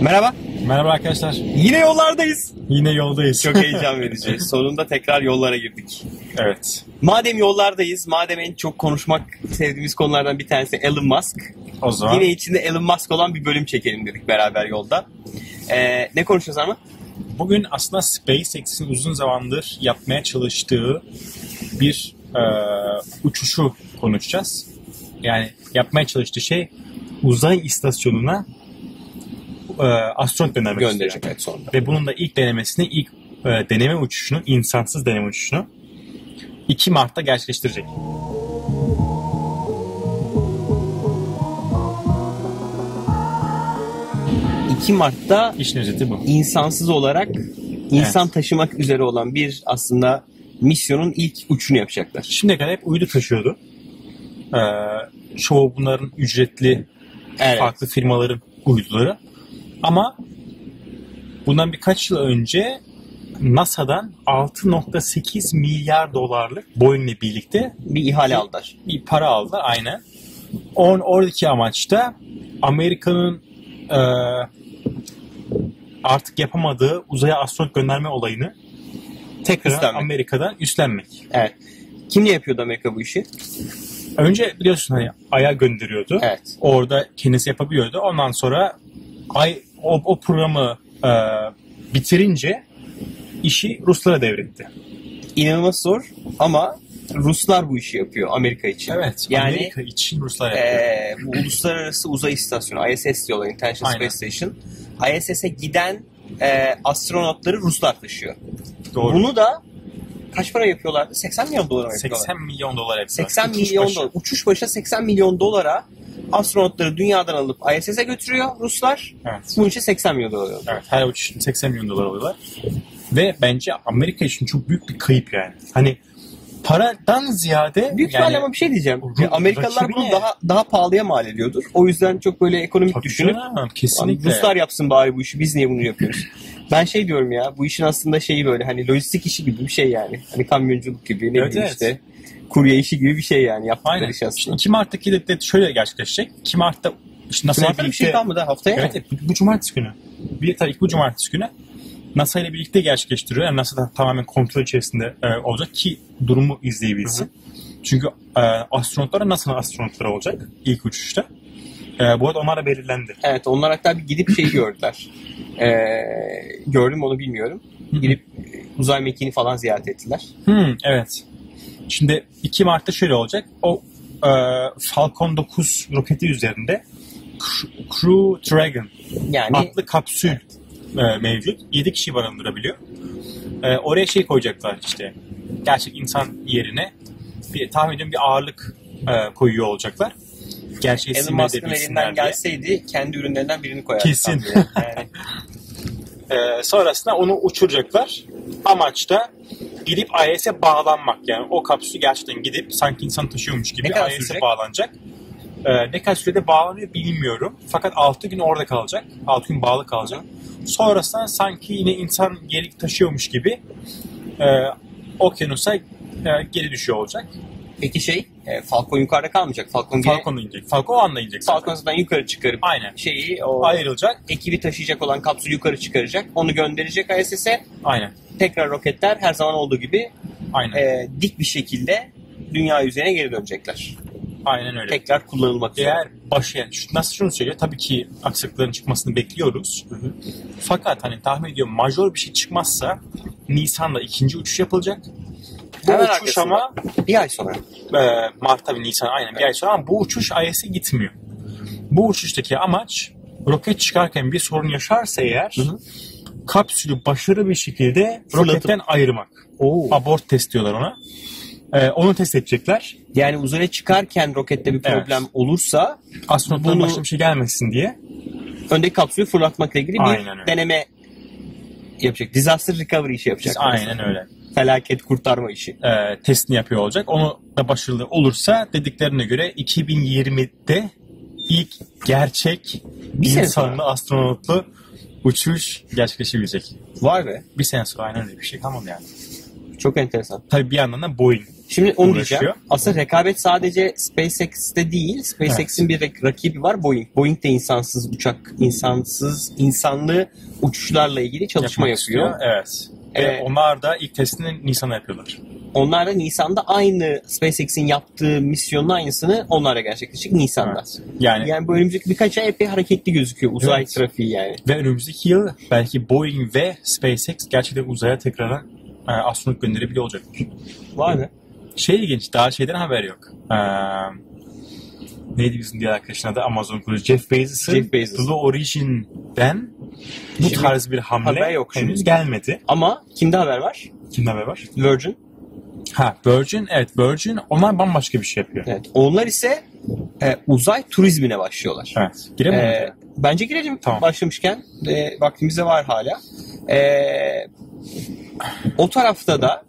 Merhaba. Merhaba arkadaşlar. Yine yollardayız. Yine yoldayız. Çok heyecan verici. Sonunda tekrar yollara girdik. evet. Madem yollardayız, madem en çok konuşmak sevdiğimiz konulardan bir tanesi Elon Musk. O zaman Yine içinde Elon Musk olan bir bölüm çekelim dedik beraber yolda. Ee, ne konuşuyoruz ama? bugün aslında SpaceX'in uzun zamandır yapmaya çalıştığı bir e, uçuşu konuşacağız. Yani yapmaya çalıştığı şey uzay istasyonuna e, astronot göndermek istiyor. Gönderecek evet sonunda. Ve bunun da ilk denemesini, ilk e, deneme uçuşunu, insansız deneme uçuşunu 2 Mart'ta gerçekleştirecek. Evet. 2 Mart'ta İşin özeti bu. insansız olarak insan taşımak üzere olan bir aslında misyonun ilk uçunu yapacaklar. Şimdiye kadar hep uydu taşıyordu. Ee, çoğu bunların ücretli Evet. farklı firmaların uyduları. Ama bundan birkaç yıl önce NASA'dan 6.8 milyar dolarlık Boeing'le birlikte Bir ihale aldılar. bir para aldılar aynı. On, oradaki amaç da Amerika'nın e, artık yapamadığı uzaya astronot gönderme olayını tekrar Üstlenmek. Amerika'dan üstlenmek. Evet. Kimle yapıyordu Amerika bu işi? Önce biliyorsun hani Ay'a gönderiyordu. Evet. Orada kendisi yapabiliyordu. Ondan sonra ay o, o programı e, bitirince işi Ruslara devretti. İnanılmaz zor ama Ruslar bu işi yapıyor Amerika için. Yani e, Amerika için Ruslar yapıyor. eee, bu uluslararası uzay istasyonu ISS diyorlar International Aynen. Space Station. ISS'e e giden eee, astronotları Ruslar taşıyor. Doğru. Bunu da kaç para yapıyorlardı? 80 milyon dolara mı yapıyorlar? 80 milyon dolar yapıyor. 80 Uçuş milyon başı. dolar. Uçuş başına 80 milyon dolara astronotları dünyadan alıp ISS'e e götürüyor Ruslar. Evet. Bunun için 80 milyon dolar alıyor. Evet, her uçuş için 80 milyon dolar alıyorlar. Ve bence Amerika için çok büyük bir kayıp yani. Hani paradan ziyade Büyük yani, ihtimalle ama bir şey diyeceğim. Ru- Ya Amerikalılar rakibi bunu ne? daha daha pahalıya mal ediyordur. O yüzden çok böyle ekonomik Tabii düşünüp canım, "Lan kesinlikle. Hani Ruslar yapsın bari bu işi. Biz niye bunu yapıyoruz? ben şey diyorum ya bu işin aslında şeyi böyle hani lojistik işi gibi bir şey yani. Hani kamyonculuk gibi ne Evet, bileyim evet. işte. Kurye işi gibi bir şey yani yaptıkları Aynen. iş aslında. Şimdi 2 Mart'taki de, de şöyle gerçekleşecek. 2 Mart'ta işte NASA 'yla Cumartesi bir şey birlikte- kalmadı ha, haftaya. Evet, evet, bu, bu cumartesi günü. Bir tabii ki bu cumartesi günü NASA ile birlikte gerçekleştiriyor. Yani NASA da tamamen kontrol içerisinde e, olacak ki durumu izleyebilsin. Çünkü e, astronotlar NASA'nın astronotları olacak ilk uçuşta. E, bu arada onlar da belirlendi. Evet onlar hatta bir gidip şey gördüler. Ee, gördüm onu bilmiyorum. Gidip uzay mekiğini falan ziyaret ettiler. Hmm, evet. Şimdi 2 Mart'ta şöyle olacak. O e, Falcon 9 roketi üzerinde Cr- Crew Dragon Yani atlı kapsül e, mevcut. 7 kişi barındırabiliyor. E, oraya şey koyacaklar işte. Gerçek insan yerine bir tahmin ediyorum bir ağırlık e, koyuyor olacaklar. Gerçeği Elon sinme Musk'ın edebilsinler elinden diye. gelseydi kendi ürünlerinden birini koyardı. Kesin. sanki Yani. E, sonrasında onu uçuracaklar. Amaç da gidip IS'e bağlanmak. Yani o kapsül gerçekten gidip sanki insan taşıyormuş gibi Ne kadar IS'e sürecek? bağlanacak. E, ne kadar sürede bağlanıyor bilmiyorum. Fakat 6 gün orada kalacak. 6 gün bağlı kalacak. Sonrasında sanki yine insan geri taşıyormuş gibi e, okyanusa e, geri düşüyor olacak. Peki şey e, Falcon yukarıda kalmayacak. Falcon, gene- Falcon'da inecek. Falcon o anda inecek zaten. Falcon zaten yukarı çıkarıp Aynen. şeyi o Ayrılacak. ekibi taşıyacak olan kapsülü yukarı çıkaracak. Onu gönderecek ISS'e. Aynen. Tekrar roketler her zaman olduğu gibi Aynen. e, dik bir şekilde dünya üzerine geri dönecekler. Aynen öyle. Tekrar kullanılmak üzere. Eğer başı yani şu, nasıl şunu söylüyor tabii ki aksaklıkların çıkmasını bekliyoruz. Fakat hani tahmin ediyorum majör bir şey çıkmazsa Nisan'da ikinci uçuş yapılacak. Bu Hemen uçuş arkasında. ama Bir ay sonra. e, Mart tabii Nisan aynen bir ay sonra ama bu uçuş IS'e gitmiyor. Bu uçuştaki amaç roket çıkarken bir sorun yaşarsa eğer Hı hı. kapsülü başarılı bir şekilde Fırlatıp- roketten ayırmak. Abort test diyorlar ona. E, onu test edecekler. Yani uzaya çıkarken rokette bir problem olursa Astronotların Bunu- başına bir şey gelmesin diye. öndeki kapsülü fırlatmakla ilgili Aynen bir öyle. deneme yapacak. Disaster recovery işi yapacak. Biz aynen öyle. Felaket kurtarma işi. e, testini yapıyor olacak. Onu da başarılı olursa dediklerine göre 2020'de ilk gerçek sene insanlı astronotlu uçuş gerçekleşebilecek. Vay be. Bir sene sonra aynen öyle bir şey. Tamam yani. Çok enteresan. Tabii bir yandan da Boeing Şimdi onu uğraşıyor. diyeceğim. Aslında rekabet sadece SpaceX'te değil. SpaceX'in bir rak- rakibi var Boeing. Boeing de insansız uçak, insansız, insanlı uçuşlarla ilgili çalışma Yapmak yapıyor. istiyor. Evet. Ve Ee, onlar da ilk testini Nisan'a yapıyorlar. Onlar da Nisan'da aynı SpaceX'in yaptığı misyonun aynısını onlar da gerçekleşecek Nisan'da. Yani, Yani bu önümüzdeki birkaç ay epey hareketli gözüküyor uzay Evet. trafiği yani. ve önümüzdeki yıl belki Boeing ve SpaceX gerçekten uzaya tekrar astronot gönderebiliyor olacaklar. Var mı? Şey ilginç, daha şeyden haber yok. Ee, neydi bizim diğer arkadaşın adı? Amazon kurucu Jeff Bezos'ın Jeff Bezos. Blue Origin'den bu Şimdi tarz bir hamle haber yok henüz şimdi. gelmedi. Ama kimde haber var? Kimden haber var? Virgin. Ha Virgin, evet Virgin onlar bambaşka bir şey yapıyor. Evet. Onlar ise e, uzay turizmine başlıyorlar. Evet. Giremiyor Ee, muyum? bence girelim Tamam. başlamışken. E, vaktimiz de var hala. Ee, o tarafta da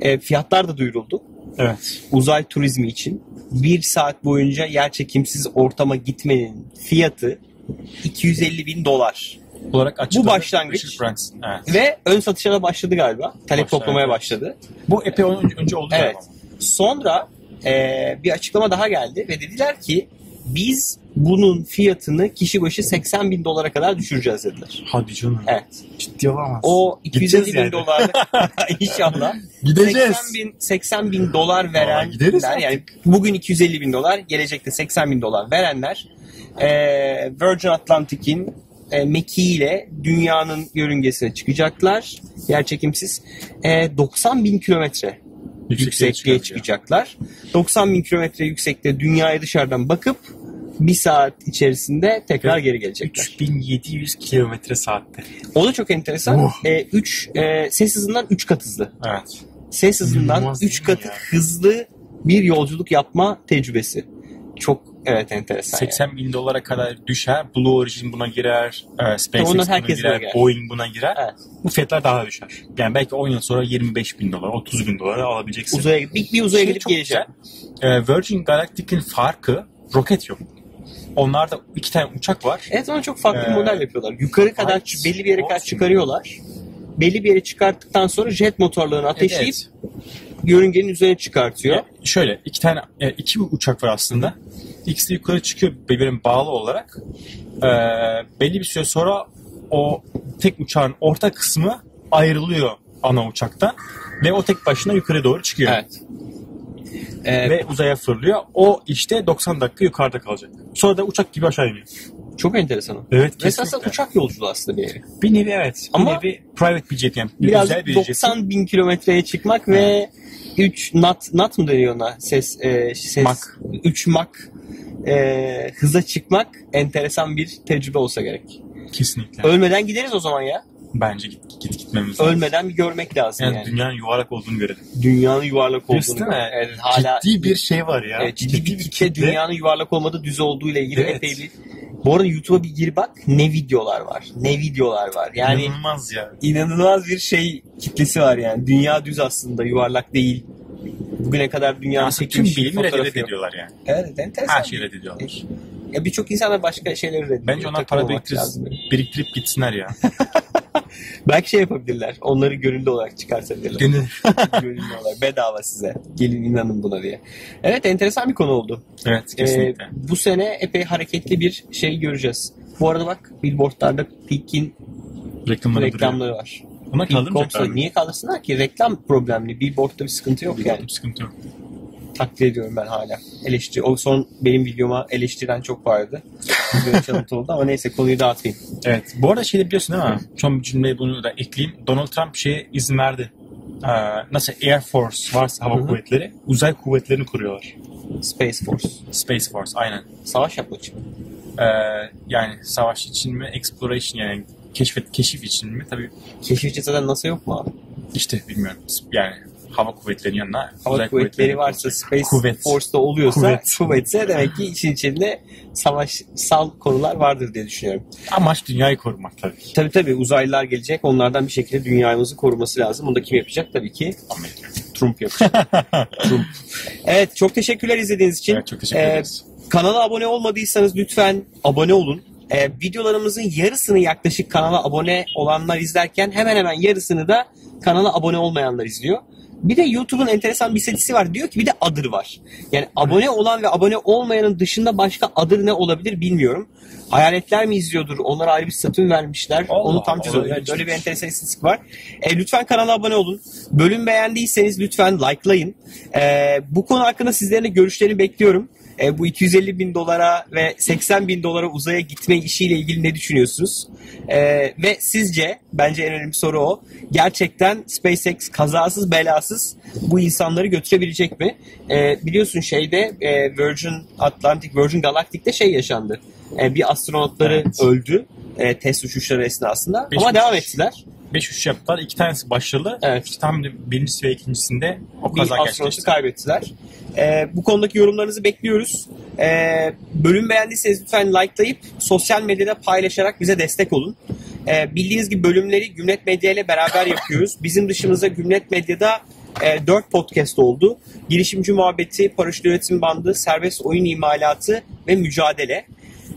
e, fiyatlar da duyuruldu. Evet. Uzay turizmi için bir saat boyunca yer çekimsiz ortama gitmenin fiyatı 250 bin dolar. Olarak açıkladı. başlangıç. Richard Branson. Evet. Ve ön satışa da başladı galiba. Talep Başladı, toplamaya evet. başladı. Bu epey on- önce, oldu Evet. galiba ama. Sonra eee, bir açıklama daha geldi ve dediler ki biz bunun fiyatını kişi başı 80 bin dolara kadar düşüreceğiz dediler. Hadi canım. Evet. Ciddi olamaz. O 250 bin Gideceğiz yani. dolarlık inşallah 80 bin, 80 bin dolar Vallahi gideriz verenler yani bugün 250 bin dolar gelecekte 80 bin dolar verenler eee, Virgin Atlantic'in eee, mekiğiyle dünyanın yörüngesine çıkacaklar. Yer çekimsiz. Eee, 90 bin kilometre yüksekliğe çıkacaklar. 90 bin kilometre yüksekte dünyaya dışarıdan bakıp bir saat içerisinde tekrar Evet. geri gelecekler. 3700 kilometre saatte. O da çok enteresan. Oh. E, üç, e, ses hızından 3 kat hızlı. Evet. Ses hızından İnanılmaz değil 3 mi katı ya? hızlı bir yolculuk yapma tecrübesi. Çok evet enteresan. yani. 80 bin dolara kadar düşer. Blue Origin buna girer. e, SpaceX Ondan buna herkes buna girer. girer. Boeing buna girer. Evet. Bu fiyatlar daha düşer. Yani belki 10 yıl sonra 25 bin dolar, 30 bin dolara alabileceksin. Uzaya bir, bir uzaya Şey gidip çok geleceğim. güzel. E, Virgin Galactic'in farkı roket yok. Onlarda iki tane uçak var. Evet ona çok farklı bir Ee, model yapıyorlar. Yukarı kadar Lights, belli bir yere kadar Box mı? çıkarıyorlar. Belli bir yere çıkarttıktan sonra jet motorlarını ateşleyip Evet. yörüngenin üzerine çıkartıyor. E, şöyle iki tane e, iki uçak var aslında. İkisi de yukarı çıkıyor birbirine bağlı olarak. E, belli bir süre sonra o tek uçağın orta kısmı ayrılıyor ana uçaktan ve o tek başına yukarı doğru çıkıyor Evet. Ee, ve uzaya fırlıyor. O işte 90 dakika yukarıda kalacak. Sonra da uçak gibi aşağı iniyor. Çok enteresan o. Evet Esasında kesinlikle. uçak yolculuğu aslında bir yeri. Bir nevi evet. Bir Ama- nevi private bir jet yani. Bir Biraz özel bir jet. 90 bin kilometreye çıkmak ve 3 nat, nat mı deniyor ona? Ses, e, ses Mach. 3 mak e, hıza çıkmak enteresan bir tecrübe olsa gerek. Kesinlikle. Ölmeden gideriz o zaman ya. Bence git, git gitmemiz lazım. Ölmeden bir görmek lazım yani, yani. dünyanın yuvarlak olduğunu görelim. Dünyanın yuvarlak Diyorsun olduğunu. değil mi? görmek. Evet, hala ciddi bir şey var ya. Evet, ciddi bir kitle dünyanın yuvarlak olmadığı düz olduğu ile ilgili Evet. epey bir. Bu arada YouTube'a bir gir bak ne videolar var. Ne videolar var. Yani inanılmaz ya. inanılmaz bir şey kitlesi var yani. Dünya düz aslında yuvarlak değil. Bugüne kadar dünyanın Aslında tüm çekilmiş bilimi fotoğrafı yok. reddediyorlar şey yani. Evet enteresan. Her şeyi reddediyorlar. Ya birçok insan da başka şeyleri reddediyor. Bence onlar para Takılmamak biriktirip, lazım. biriktirip gitsinler ya. Belki şey yapabilirler. Onları gönüllü olarak çıkartabilirler. Gönül. gönüllü olarak. Bedava size. Gelin inanın buna diye. Evet enteresan bir konu oldu. Evet kesinlikle. Ee, bu sene epey hareketli bir şey göreceğiz. Bu arada bak billboardlarda Pink'in Reklamları duruyor. reklamları var. Ona Pink kaldırmayacaklar Coms'la mı? niye kaldırsınlar ki? Reklam problemli. Billboard'da bir sıkıntı yok yani. Bir sıkıntı yok. Takdir ediyorum ben hala. Eleştiri. O son benim videoma eleştiren çok vardı. Video çalıntı oldu ama neyse konuyu dağıtayım. Evet. Bu arada şeyi biliyorsun değil mi? Son bir cümleyi bunu da ekleyeyim. Donald Trump şeye izin verdi. Ee, nasıl Air Force varsa hava Hı hı. kuvvetleri uzay kuvvetlerini kuruyorlar. Space Force. Space Force aynen. Savaş yapmak için. Ee, yani savaş için mi exploration yani keşfet keşif için mi tabii Keşif için zaten NASA yok mu abi? işte bilmiyorum yani hava kuvvetlerinin yanına Hava uzay kuvvetleri varsa Space Kuvvet. Force'da oluyorsa Kuvvet. kuvvetse demek ki için içinde savaşsal konular vardır diye düşünüyorum. Amaç dünyayı korumak tabii ki. Tabii tabii uzaylılar gelecek. Onlardan bir şekilde dünyamızı koruması lazım. Bunu da kim yapacak? Tabii ki Amerika. Trump yapacak. Trump. Evet çok teşekkürler izlediğiniz için. Evet, çok teşekkür Ee, ederiz. Kanala abone olmadıysanız lütfen abone olun. Ee, videolarımızın yarısını yaklaşık kanala abone olanlar izlerken hemen hemen yarısını da kanala abone olmayanlar izliyor. Bir de YouTube'un enteresan bir statisi var. Diyor ki bir de adır var. Yani abone olan ve abone olmayanın dışında başka adır ne olabilir bilmiyorum. Hayaletler mi izliyordur? Onlara ayrı bir statün vermişler. Allah Onu tam Allah, çözüyorum. öyle Yani bir böyle bir şey. enteresan istatistik var. E, lütfen kanala abone olun. Bölüm beğendiyseniz lütfen likelayın. E, bu konu hakkında sizlerin de görüşlerini bekliyorum. E, bu 250 bin dolara ve 80 bin dolara uzaya gitme işiyle ilgili ne düşünüyorsunuz? E, ve sizce, bence en önemli soru o, gerçekten SpaceX kazasız belasız bu insanları götürebilecek mi? E, biliyorsun şeyde e, Virgin Atlantic, Virgin Galactic'te şey yaşandı. E, bir astronotları Evet. öldü e, test uçuşları esnasında Beş ama uçuş. devam ettiler. 5 uçuş yaptılar. İki tanesi başarılı. Evet. İşte tam da birincisi ve ikincisinde o kaza bir astronotu gerçekleşti. kaybettiler. Ee, bu konudaki yorumlarınızı bekliyoruz. Ee, bölüm beğendiyseniz lütfen likelayıp sosyal medyada paylaşarak bize destek olun. Ee, bildiğiniz gibi bölümleri Gümlet Medya ile beraber yapıyoruz. Bizim dışımızda Gümlet Medya'da e, 4 podcast oldu. Girişimci Muhabbeti, Paraşüt Üretim Bandı, Serbest Oyun İmalatı ve Mücadele.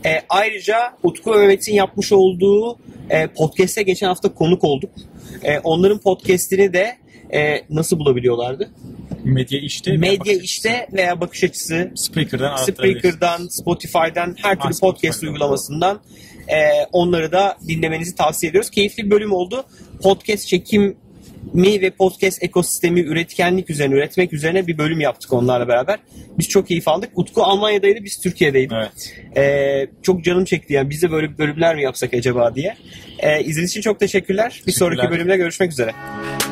Ee, ayrıca Utku ve Mehmet'in yapmış olduğu e, podcast'e geçen hafta konuk olduk. Ee, onların podcast'ini de e, nasıl bulabiliyorlardı? Medya işte. veya Medya bakış- işte veya bakış açısı Spreaker'dan arattırabilirsiniz. Spreaker'dan, Spotify'dan, her türlü Spotify'dan. podcast uygulamasından e, onları da dinlemenizi tavsiye ediyoruz. Keyifli bir bölüm oldu. Podcast çekimi ve podcast ekosistemi üretkenlik üzerine, üretmek üzerine bir bölüm yaptık onlarla beraber. Biz çok keyif aldık. Utku Almanya'daydı, biz Türkiye'deydik. Evet. E, çok canım çekti yani biz de böyle bölümler mi yapsak acaba diye. E, izlediğiniz için çok teşekkürler. Bir Teşekkürler. sonraki bölümde görüşmek üzere.